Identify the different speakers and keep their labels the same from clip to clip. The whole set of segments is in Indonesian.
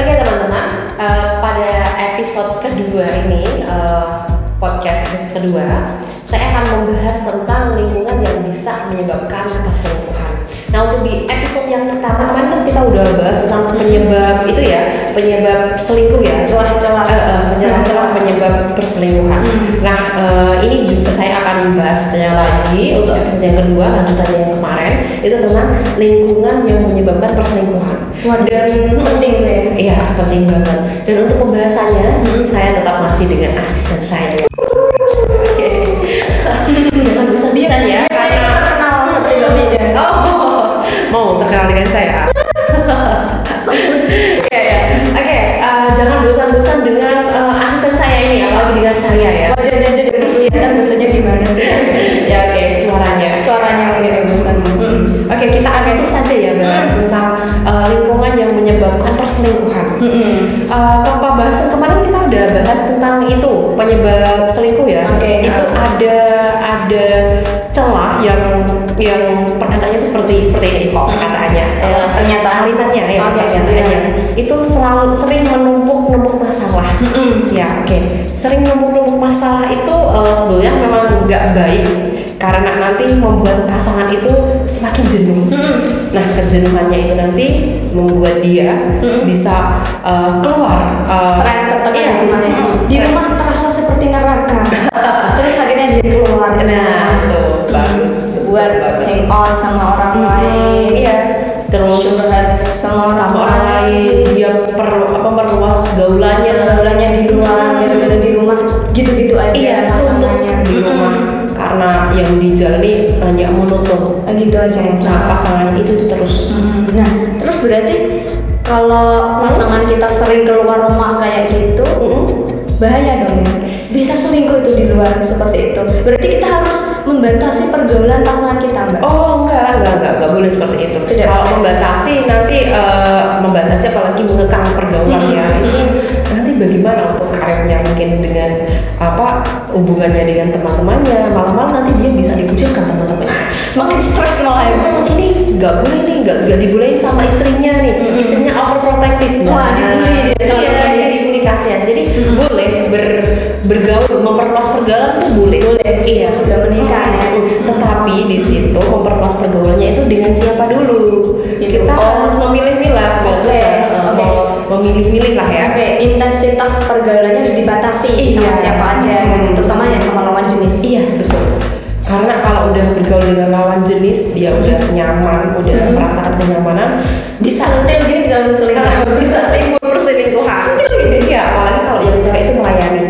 Speaker 1: Oke teman-teman, eh, pada episode kedua ini eh, podcast episode kedua, saya akan membahas tentang lingkungan yang bisa menyebabkan perselingkuhan. Nah untuk di episode yang pertama kemarin kan kita udah bahas tentang penyebab itu ya, penyebab selingkuh ya, celah-celah, eh, eh, celah-celah penyebab perselingkuhan. Nah eh, ini juga saya akan bahasnya lagi untuk episode yang kedua lanjutannya yang kemarin itu tentang lingkungan yang menyebabkan perselingkuhan.
Speaker 2: Waduh, penting tuh ya.
Speaker 1: Iya, penting banget. Dan untuk pembahasannya, saya tetap masih dengan asisten saya. Oke. Jangan bisa ya,
Speaker 2: Biasanya
Speaker 1: karena
Speaker 2: saya terkenal berbeda.
Speaker 1: Oh, mau terkenal dengan saya. Iya, iya. Oke, eh, jangan bosan-bosan dengan eh, asisten saya ini, apalagi dengan saya ya.
Speaker 2: Wajahnya aja udah kelihatan maksudnya gimana sih?
Speaker 1: Ya oke, suaranya.
Speaker 2: Suaranya udah bosan.
Speaker 1: Hmm. Oke, kita langsung saja ya bahas
Speaker 2: Hmm.
Speaker 1: tentang eh, lingkungan yang menyebabkan perselingkuhan.
Speaker 2: Hmm.
Speaker 1: Eh, ke pembahasan kemarin kita udah bahas tentang itu penyebab selingkuh ya.
Speaker 2: Oke.
Speaker 1: Itu ada ada celah yang yang perkataannya itu seperti seperti ini kok perkataannya.
Speaker 2: Eh,
Speaker 1: Eh,
Speaker 2: pernyataan.
Speaker 1: kalimatnya ya
Speaker 2: Oke,
Speaker 1: pernyataannya.
Speaker 2: iya.
Speaker 1: Itu selalu sering menumpuk-numpuk masalah. Ya, oke. Sering menumpuk-numpuk masalah itu eh, sebenarnya memang nggak baik karena nanti membuat pasangan itu semakin jenuh. Nah, kejenuhannya itu nanti membuat dia bisa eh, keluar eh,
Speaker 2: Stres tertekan
Speaker 1: iya,
Speaker 2: gimana ya?
Speaker 1: mm,
Speaker 2: Di
Speaker 1: stres.
Speaker 2: rumah terasa seperti neraka. Terus akhirnya dia keluar.
Speaker 1: Nah, tuh bagus.
Speaker 2: buat
Speaker 1: bagus.
Speaker 2: hang out sama orang
Speaker 1: Hmm,
Speaker 2: lain.
Speaker 1: Iya. Terus
Speaker 2: Curhat sama orang,
Speaker 1: sama orang lain Iya. dia perlu apa perluas gaulannya.
Speaker 2: Bulannya di luar, gara-gara di rumah, gitu-gitu aja.
Speaker 1: Iya, suntuk Hmm.
Speaker 2: pasangannya.
Speaker 1: di rumah karena yang dijalani hanya monoton.
Speaker 2: Mm-mm. Gitu aja. yang
Speaker 1: Nah, pasangan itu tuh terus
Speaker 2: Hmm, Nah, terus berarti kalau pasangan kita sering keluar rumah kayak gitu, bahaya dong ya. Bisa selingkuh itu di luar seperti itu. Berarti kita harus membatasi pergaulan pasangan kita, Mbak.
Speaker 1: Oh enggak, enggak, enggak, enggak boleh seperti itu.
Speaker 2: Tidak.
Speaker 1: Kalau membatasi nanti eh, membatasi apalagi mengekang pergaulan ya itu nanti bagaimana untuk karirnya mungkin dengan apa hubungannya dengan teman-temannya malam-malam nanti dia bisa dikucilkan teman-temannya.
Speaker 2: Semakin stres malah ya.
Speaker 1: Oh, ini nggak boleh nih, nggak nggak dibolehin sama istrinya nih. Istrinya overprotective. Nah,
Speaker 2: Wah, dibully dia sama
Speaker 1: Iya,
Speaker 2: temannya.
Speaker 1: dia dibully kasihan. Jadi boleh ber- bergaul, memperluas pergaulan tuh boleh.
Speaker 2: Boleh,
Speaker 1: Iya,
Speaker 2: sudah menikah ya.
Speaker 1: Tetapi di situ memperluas pergaulannya itu dengan siapa dulu.
Speaker 2: Gitu.
Speaker 1: Kita
Speaker 2: Oh.
Speaker 1: harus memilih-milah.
Speaker 2: Oke,
Speaker 1: Eh,
Speaker 2: oke.
Speaker 1: mau Memilih-milih lah ya.
Speaker 2: Oke, intensitas pergaulannya harus dibatasi
Speaker 1: Iya.
Speaker 2: sama siapa aja, terutama ya sama lawan jenis.
Speaker 1: Iya betul. Karena kalau udah bergaul dengan lawan jenis, dia udah nyaman, udah
Speaker 2: Hmm.
Speaker 1: merasakan kenyamanan, bisa
Speaker 2: Diselentil gini bisa langsung
Speaker 1: Nah,
Speaker 2: selingkuh.
Speaker 1: bisa timbul perselingkuhan iya apalagi kalau yang cewek itu melayani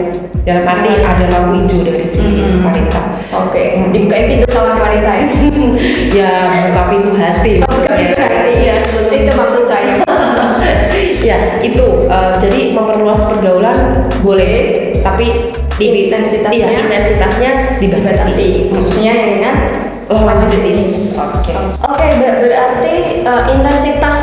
Speaker 1: dalam arti
Speaker 2: Hmm.
Speaker 1: ada lampu hijau dari sini wanita
Speaker 2: Oke, dibukain pintu sama si wanita ya.
Speaker 1: ya buka pintu hati
Speaker 2: Buka pintu hati ya, sebetulnya itu maksud saya. Iya.
Speaker 1: ya itu eh, jadi memperluas pergaulan boleh tapi di
Speaker 2: Intensitasnya?
Speaker 1: iya, intensitasnya dibatasi
Speaker 2: Sih, khususnya yang dengan
Speaker 1: lawan Oh, jenis oke
Speaker 2: Oke, ber- berarti eh, intensitas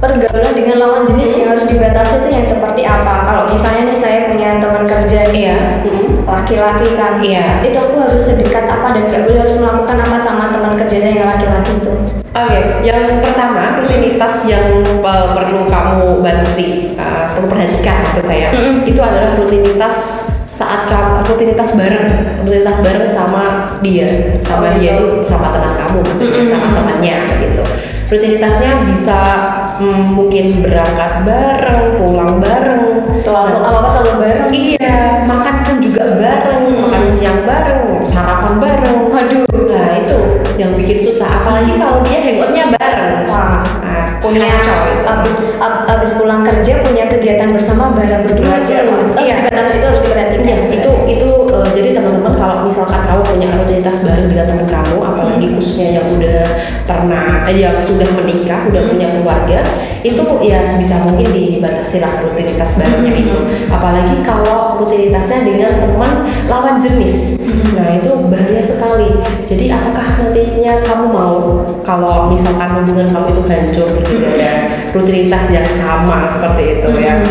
Speaker 2: pergaulan dengan lawan jenis
Speaker 1: Hmm.
Speaker 2: yang harus dibatasi itu yang seperti apa? Kalau misalnya nih saya punya teman kerja nih, Hmm.
Speaker 1: Iya. Mm-mm.
Speaker 2: laki-laki kan,
Speaker 1: Iya.
Speaker 2: itu aku harus sedekat apa dan nggak boleh harus melakukan apa sama teman kerja saya yang laki-laki itu?
Speaker 1: Oke, yang pertama rutinitas yang eh, perlu kamu batasi, eh, perlu perhatikan maksud saya, itu adalah rutinitas saat kamu rutinitas bareng, rutinitas bareng sama dia, sama
Speaker 2: Oh,
Speaker 1: dia
Speaker 2: gitu.
Speaker 1: itu sama teman kamu, maksudnya sama temannya gitu. Rutinitasnya bisa mm, mungkin berangkat bareng, pulang bareng,
Speaker 2: Selalu apa apa selalu bareng. Hmm.
Speaker 1: Iya, makan pun juga bareng, makan siang bareng, sarapan bareng.
Speaker 2: Waduh.
Speaker 1: Nah itu yang bikin susah, apalagi kalau dia hangoutnya bareng.
Speaker 2: Wah. Iya.
Speaker 1: Nah,
Speaker 2: punya
Speaker 1: kacau itu.
Speaker 2: abis ab- abis pulang kerja punya kegiatan bersama bareng berdua aja
Speaker 1: Hmm,
Speaker 2: Wah, itu harus
Speaker 1: iya.
Speaker 2: dibatasi itu harus diperhatikan
Speaker 1: Iya, itu itu eh, jadi teman-teman kalau misalkan kamu punya rutinitas bareng dengan teman kamu, apalagi khususnya yang udah pernah, eh, yang sudah menikah, udah punya keluarga, itu ya sebisa mungkin dibatasi lah rutinitas barengnya itu. Apalagi kalau rutinitasnya dengan teman lawan jenis, nah itu bahaya sekali. Jadi apakah nantinya kamu mau kalau misalkan hubungan kamu itu hancur ketika ada Hmm. rutinitas yang sama seperti itu ya.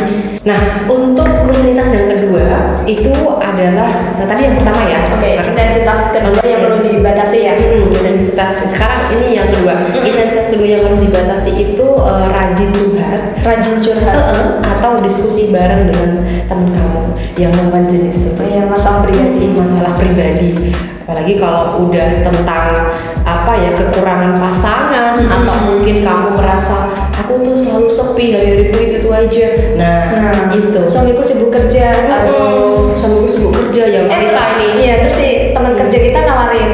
Speaker 1: Nah, untuk rutinitas yang kedua itu adalah nah, tadi yang pertama ya.
Speaker 2: Oke,
Speaker 1: Nah,
Speaker 2: intensitas kedua yang perlu dibatasi ya.
Speaker 1: Mm, intensitas sekarang ini yang kedua.
Speaker 2: Hmm.
Speaker 1: Intensitas kedua yang harus dibatasi itu eh, rajin curhat
Speaker 2: Rajin curhat.
Speaker 1: eh, atau diskusi bareng dengan teman kamu yang lawan jenis tentunya
Speaker 2: Ya, masalah pribadi.
Speaker 1: ini masalah pribadi apalagi kalau udah tentang apa ya kekurangan pasangan
Speaker 2: Hmm.
Speaker 1: atau mungkin kamu merasa aku tuh selalu sepi ya hidupku itu itu aja nah,
Speaker 2: Nah,
Speaker 1: itu
Speaker 2: Suamiku sibuk kerja atau
Speaker 1: atau suamiku sibuk kerja ya
Speaker 2: eh
Speaker 1: kita
Speaker 2: terus-
Speaker 1: ini
Speaker 2: iya terus si teman kerja kita nawarin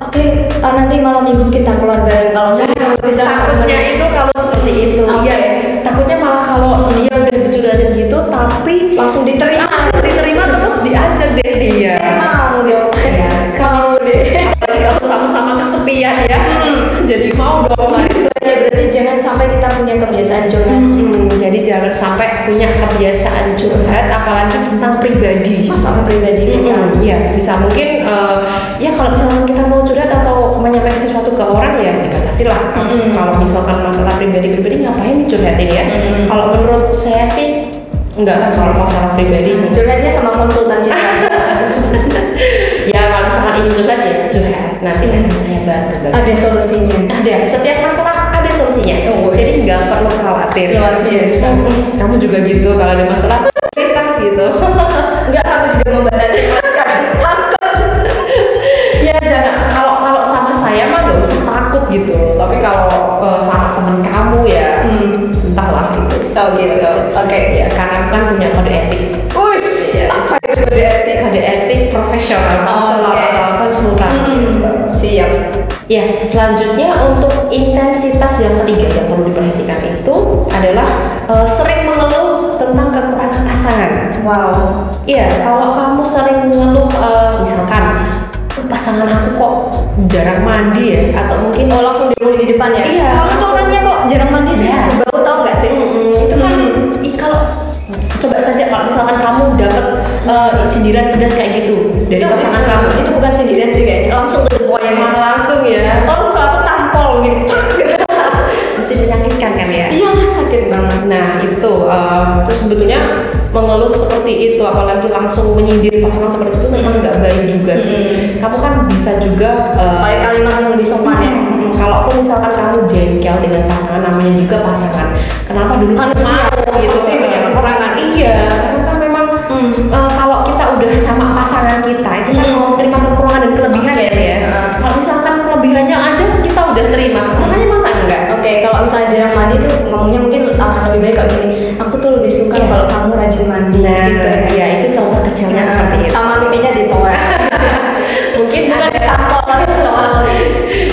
Speaker 2: oke ah, nanti malam minggu kita keluar bareng kalau saya bisa
Speaker 1: Nah, takutnya itu kalau seperti itu
Speaker 2: Oke.
Speaker 1: ya takutnya malah kalau dia udah dicuratin gitu tapi
Speaker 2: langsung diterima
Speaker 1: langsung diterima terus diajak deh dia
Speaker 2: Eh, mau dong
Speaker 1: Iya.
Speaker 2: kalau deh
Speaker 1: Apalagi kalau sama-sama kesepian ya jadi mau dong
Speaker 2: ya berarti jangan sampai kita punya kebiasaan curhat
Speaker 1: Hmm, jadi jangan sampai punya kebiasaan curhat apalagi tentang pribadi.
Speaker 2: masalah pribadi kita
Speaker 1: Hmm, ya sebisa mungkin eh, ya kalau misalkan kita mau curhat atau menyampaikan sesuatu ke orang ya dibatasi lah. Kalau misalkan masalah pribadi-pribadi ngapain dicurhatin ya? Kalau menurut saya sih enggak lah kalau masalah pribadi.
Speaker 2: curhatnya sama konsultan cinta aja.
Speaker 1: ya kalau misalkan ingin curhat ya curhat. Nanti akan saya bantu. bantu.
Speaker 2: ada solusinya
Speaker 1: Ada setiap masalah ada solusinya.
Speaker 2: Oh,
Speaker 1: jadi
Speaker 2: wis.
Speaker 1: nggak perlu khawatir.
Speaker 2: Luar biasa.
Speaker 1: Kamu juga gitu kalau ada masalah cerita gitu.
Speaker 2: enggak aku juga membatasi mas sekarang
Speaker 1: ya jangan kalau kalau sama saya mah nggak usah takut gitu tapi kalau eh, sama teman kamu ya entahlah gitu
Speaker 2: oh gitu Hmm. oke
Speaker 1: ya karena kan punya kode etik
Speaker 2: Wush, apa itu berarti
Speaker 1: kode etik profesional konselor
Speaker 2: Oke. Hmm.
Speaker 1: atau konsultan gitu.
Speaker 2: siap
Speaker 1: ya selanjutnya untuk intensitas yang ketiga yang perlu diperhatikan itu adalah eh, sering mengeluh tentang kekurangan pasangan
Speaker 2: wow
Speaker 1: Iya, kalau kamu sering mengeluh, eh, misalkan "Eh, pasangan aku kok jarang mandi ya, atau mungkin
Speaker 2: Oh langsung diomongin di depan ya?
Speaker 1: Iya,
Speaker 2: Kamu tuh
Speaker 1: langsung.
Speaker 2: orangnya kok jarang mandi sih?
Speaker 1: Iya.
Speaker 2: Bau tau gak sih?
Speaker 1: Mm-mm, itu kan
Speaker 2: Mm.
Speaker 1: ih, kalau coba saja kalau misalkan kamu dapat eh, sindiran pedas kayak gitu dari pasangan
Speaker 2: itu,
Speaker 1: kamu,
Speaker 2: Itu bukan sendirian sih kayaknya. Langsung tutup poinnya.
Speaker 1: malah langsung ya,
Speaker 2: Oh langsung aku tampol gitu.
Speaker 1: pasti menyakitkan kan ya.
Speaker 2: Iya sakit banget.
Speaker 1: Nah itu eh, terus sebetulnya mengeluh seperti itu apalagi langsung menyindir pasangan seperti itu memang nggak baik juga sih. Kamu kan bisa juga eh,
Speaker 2: Pakai kalimat yang lebih sopan ya.
Speaker 1: Mm, Kalaupun misalkan kamu jengkel dengan pasangan, namanya juga pasangan. Kenapa dulu kamu
Speaker 2: Manusia,
Speaker 1: mau gitu?
Speaker 2: pasti punya
Speaker 1: Eh,
Speaker 2: kekurangan.
Speaker 1: Iya, karena kan memang
Speaker 2: Mm.
Speaker 1: eh, kalau kita udah sama pasangan kita, itu kan
Speaker 2: Mm.
Speaker 1: mau menerima kekurangan dan kelebihan
Speaker 2: Oke,
Speaker 1: kan ya.
Speaker 2: uh.
Speaker 1: Kalau misalkan kelebihannya aja kita udah terima, kekurangannya masa enggak?
Speaker 2: Oke, kalau misalnya jarang mandi tuh ngomongnya mungkin ah, lebih baik kalau gini. Aku tuh lebih suka
Speaker 1: Iya.
Speaker 2: kalau kamu rajin mandi
Speaker 1: Nah,
Speaker 2: gitu. ya.
Speaker 1: ya itu contoh kecilnya
Speaker 2: Nah,
Speaker 1: seperti itu.
Speaker 2: Sama pipinya ditolak.
Speaker 1: Mungkin
Speaker 2: bukan
Speaker 1: ada-
Speaker 2: ditampol tapi ditolak.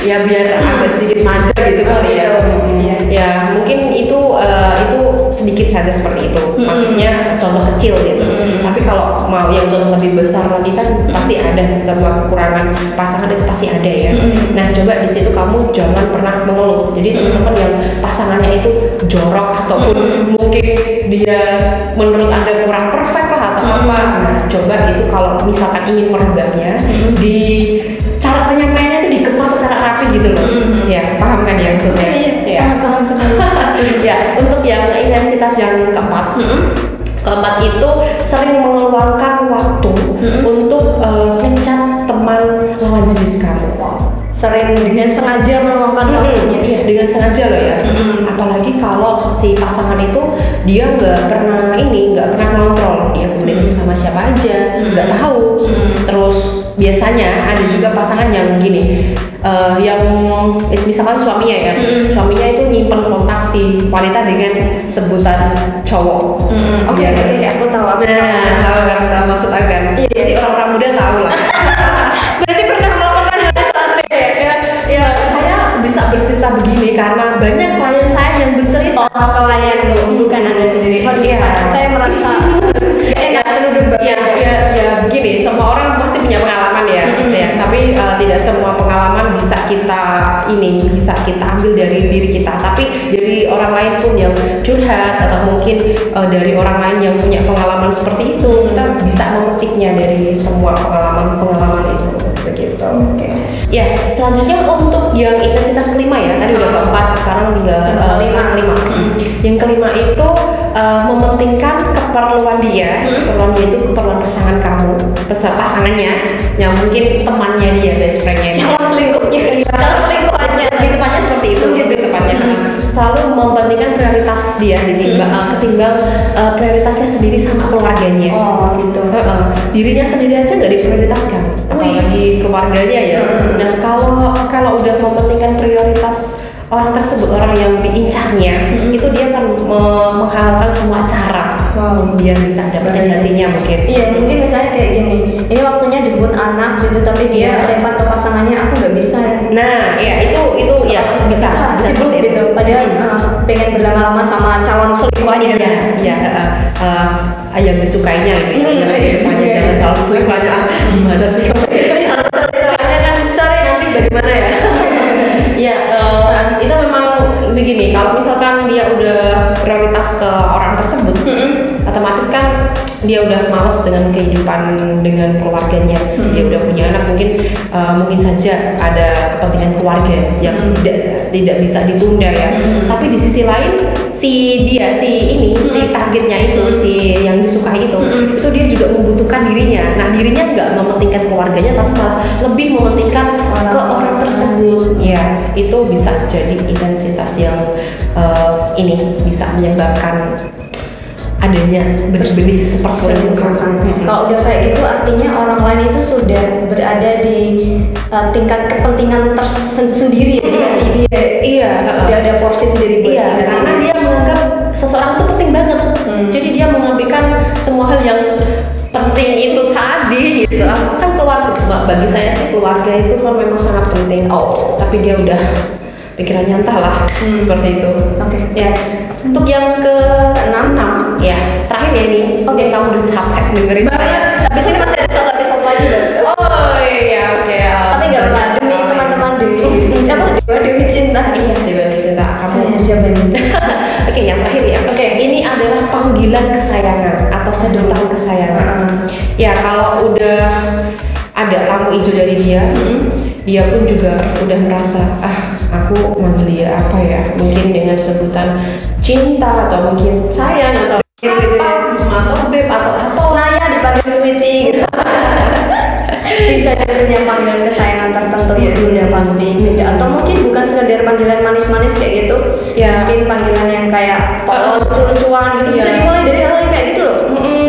Speaker 1: ya biar agak sedikit manja gitu
Speaker 2: Oh,
Speaker 1: kali ya.
Speaker 2: gitu.
Speaker 1: Hmm.
Speaker 2: Iya.
Speaker 1: Ya mungkin itu eh, itu sedikit saja seperti itu.
Speaker 2: Hmm.
Speaker 1: Maksudnya contoh kecil gitu.
Speaker 2: Mm-hmm.
Speaker 1: Tapi kalau mau yang contoh lebih besar lagi kan pasti ada semua kekurangan pasangan itu pasti ada ya.
Speaker 2: Mm-hmm.
Speaker 1: Nah coba di situ kamu jangan pernah mengeluh. Jadi teman-teman yang pasangannya itu jorok ataupun
Speaker 2: Mm-hmm.
Speaker 1: mungkin dia menurut anda kurang perfect lah atau apa.
Speaker 2: Mm-hmm.
Speaker 1: Nah coba itu kalau misalkan ingin merubahnya di cara penyampaiannya itu dikemas secara rapi gitu loh. Ya paham kan ya maksud saya?
Speaker 2: Mm-hmm. Iya,
Speaker 1: Ya.
Speaker 2: sangat paham sekali.
Speaker 1: ya untuk yang intensitas yang keempat keempat itu sering mengeluarkan waktu untuk eh, mencat teman lawan jenis kamu
Speaker 2: Sering dengan sengaja meluangkan
Speaker 1: Mm-mm,
Speaker 2: waktunya.
Speaker 1: iya dengan sengaja loh ya apalagi kalau si pasangan itu dia nggak pernah ini nggak pernah kontrol dia komunikasi sama siapa aja nggak tahu terus biasanya ada juga pasangan yang gini eh, yang is- misalkan suaminya ya suaminya itu nyimpen kontak si wanita dengan sebutan cowok
Speaker 2: Mm-mm. Oke,
Speaker 1: Iya
Speaker 2: oke,
Speaker 1: kan?
Speaker 2: oke, aku tahu aku tahu.
Speaker 1: nah tahu kan tahu maksud aku kan
Speaker 2: Iya.
Speaker 1: si orang-orang muda tahu lah
Speaker 2: Berarti pernah melakukan hal yang aneh ya?
Speaker 1: ya, ya saya bisa bercerita begini karena banyak klien saya yang bercerita
Speaker 2: Oh, klien tuh bukan anda sendiri. Oh,
Speaker 1: Iya.
Speaker 2: saya, saya merasa enggak menuduh
Speaker 1: ya,
Speaker 2: banget.
Speaker 1: ya, ya begini semua orang pasti punya pengalaman ya, ya tapi uh, tidak semua pengalaman bisa kita ini bisa kita ambil dari diri kita tapi dari orang lain pun yang curhat atau mungkin uh, dari orang lain yang punya pengalaman seperti itu kita bisa memetiknya dari semua pengalaman pengalaman itu begitu
Speaker 2: Oke.
Speaker 1: Ya, selanjutnya untuk yang intensitas kelima ya. Tadi udah keempat, sekarang tinggal
Speaker 2: Kelima.
Speaker 1: eh, sekarang kelima. Yang kelima itu eh, mementingkan keperluan dia. Keperluan dia itu keperluan pesan pasangannya yang mungkin temannya dia best friendnya dia.
Speaker 2: calon selingkuhnya
Speaker 1: Iya.
Speaker 2: calon selingkuhannya
Speaker 1: lebih tepatnya seperti itu
Speaker 2: Gitu.
Speaker 1: lebih tepatnya Nah, selalu mempentingkan prioritas dia
Speaker 2: Hmm.
Speaker 1: ditimbang eh, ketimbang eh, prioritasnya sendiri sama keluarganya
Speaker 2: oh gitu
Speaker 1: Heeh. dirinya sendiri aja nggak diprioritaskan
Speaker 2: Wih.
Speaker 1: apalagi keluarganya ya
Speaker 2: Hmm.
Speaker 1: nah kalau kalau udah mementingkan prioritas orang tersebut orang yang diincarnya
Speaker 2: Hmm.
Speaker 1: itu dia akan me- menghalalkan semua cara
Speaker 2: wow
Speaker 1: biar bisa dapetin hatinya mungkin
Speaker 2: Iya mungkin misalnya kayak gini Ini waktunya jemput anak gitu Tapi dia
Speaker 1: Iya.
Speaker 2: lempar ke pasangannya Aku nggak bisa ya
Speaker 1: nah ya itu itu ya bisa bisa
Speaker 2: sibuk
Speaker 1: seperti itu Hmm.
Speaker 2: gitu Padahal eh, pengen berlama-lama sama calon selingkuhannya
Speaker 1: Iya, iya, heeh. Eh, yang disukainya gitu ya,
Speaker 2: Hmm,
Speaker 1: yang
Speaker 2: iya,
Speaker 1: disukainya
Speaker 2: iya.
Speaker 1: jangan calon selingkuhannya ah, gimana sih kamu? Iya. Soalnya kan sore nanti bagaimana ya? Iya, eh, itu memang begini. Kalau misalkan dia udah prioritas ke orang tersebut, otomatis kan dia udah malas dengan kehidupan dengan keluarganya. Dia udah punya anak, mungkin eh, mungkin saja ada kepentingan keluarga yang tidak tidak bisa ditunda ya. Tapi di sisi lain si dia si ini si targetnya itu si yang disukai itu itu dia juga membutuhkan dirinya nah dirinya nggak mementingkan keluarganya tapi malah lebih mementingkan
Speaker 2: Orang.
Speaker 1: ke orang tersebut ya itu bisa jadi intensitas yang eh, ini bisa menyebabkan adanya benih-benih
Speaker 2: Perselingkuhan.
Speaker 1: perselingkuhan
Speaker 2: Kalau udah kayak gitu artinya orang lain itu sudah berada di eh, tingkat kepentingan tersendiri ya, di hati dia.
Speaker 1: Iya, heeh.
Speaker 2: Dia ada porsi sendiri buat
Speaker 1: Iya,
Speaker 2: hati
Speaker 1: karena dia menganggap seseorang itu penting banget.
Speaker 2: Hmm.
Speaker 1: Jadi dia mengambilkan semua hal yang penting itu tadi gitu. Kan keluarga bagi saya sih keluarga itu kan memang sangat penting.
Speaker 2: Oh. Hmm.
Speaker 1: Tapi dia udah pikirannya entahlah seperti itu.
Speaker 2: Oke.
Speaker 1: Ya. Untuk yang ke
Speaker 2: Keenam.
Speaker 1: enam ya terakhir ya ini.
Speaker 2: Oke.
Speaker 1: kamu udah capek dengerin saya.
Speaker 2: Banget. Habis ini masih ada satu episode lagi loh.
Speaker 1: Oh iya Oh. oke.
Speaker 2: Tapi nggak apa-apa demi teman-teman Dewi. Siapa Dewa Dewi Cinta.
Speaker 1: Iya, Dewi cinta kamu.
Speaker 2: Saya aja banyak.
Speaker 1: Oke, yang terakhir ya.
Speaker 2: Oke.
Speaker 1: ini adalah panggilan kesayangan atau sedotan kesayangan. Ya, kalau udah ada lampu hijau dari dia, dia pun juga udah merasa ah aku manggil dia apa ya? Mungkin dengan sebutan cinta atau mungkin sayang atau
Speaker 2: Gitu ya.
Speaker 1: apa, atau beb atau apa.
Speaker 2: Oh, Naya dipanggil sweeting. bisa jadi punya panggilan kesayangan tertentu ya udah pasti atau mungkin bukan sekedar panggilan manis-manis kayak gitu
Speaker 1: Ya.
Speaker 2: mungkin panggilan yang kayak tolong lucu-lucuan gitu bisa
Speaker 1: Iya.
Speaker 2: dimulai dari hal yang kayak gitu loh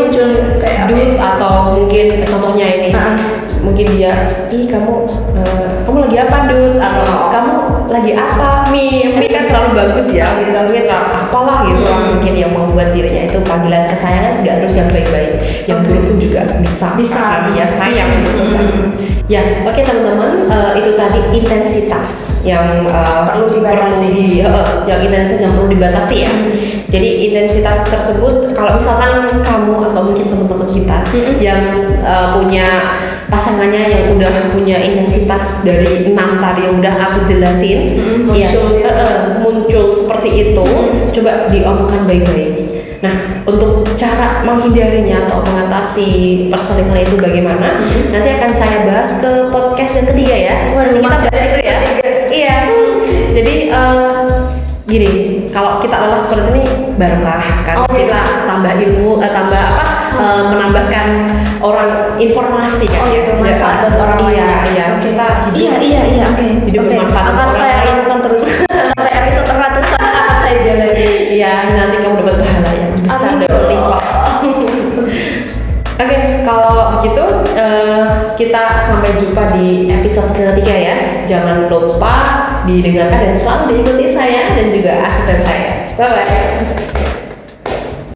Speaker 2: lucu kayak apa
Speaker 1: Dut atau mungkin contohnya ini
Speaker 2: Ah.
Speaker 1: mungkin dia ih kamu eh, kamu lagi apa Dut atau
Speaker 2: Oh.
Speaker 1: kamu lagi apa mi mi kan terlalu bagus ya mungkin mungkin terlalu apalah gitu lah
Speaker 2: Hmm.
Speaker 1: mungkin yang membuat dirinya itu panggilan kesayangan nggak harus yang baik-baik yang buruk pun juga bisa
Speaker 2: Bisa.
Speaker 1: karena dia sayang gitu kan
Speaker 2: Mm.
Speaker 1: ya oke teman-teman eh, itu tadi intensitas yang eh,
Speaker 2: Perlu dibatasi.
Speaker 1: perlu di- eh, yang intensitas yang perlu dibatasi ya jadi intensitas tersebut kalau misalkan kamu atau mungkin teman-teman kita yang eh, punya pasangannya yang udah punya intensitas dari enam tadi yang udah aku jelasin
Speaker 2: Mm,
Speaker 1: ya,
Speaker 2: muncul gitu.
Speaker 1: eh, eh, muncul seperti itu coba diomongkan baik-baik nah untuk cara menghindarinya atau mengatasi perselingkuhan itu bagaimana nanti akan saya bahas ke podcast yang ketiga ya
Speaker 2: Waduh,
Speaker 1: nanti kita
Speaker 2: masih
Speaker 1: bahas
Speaker 2: ada
Speaker 1: itu ya
Speaker 2: ketiga.
Speaker 1: iya jadi eh, gini kalau kita lelah seperti ini barokah karena
Speaker 2: Oke.
Speaker 1: kita tambah ilmu eh, tambah apa eh, menambahkan orang informasi kan
Speaker 2: Hmm. Oh,
Speaker 1: ya
Speaker 2: itu
Speaker 1: Nggak-
Speaker 2: manfaat buat orang
Speaker 1: iya
Speaker 2: lain.
Speaker 1: iya kita hidup
Speaker 2: iya iya iya oke
Speaker 1: Hidup
Speaker 2: oke.
Speaker 1: bermanfaat untuk
Speaker 2: akan
Speaker 1: orang
Speaker 2: saya
Speaker 1: lain.
Speaker 2: lakukan terus sampai episode ratusan akan saya jalani
Speaker 1: Iya, nanti kamu dapat pahala yang besar dan
Speaker 2: Amin.
Speaker 1: berlimpah. Oke, kalau begitu eh, kita sampai jumpa di episode ketiga ya. Jangan lupa didengarkan dan selalu diikuti saya dan juga asisten saya. Bye bye.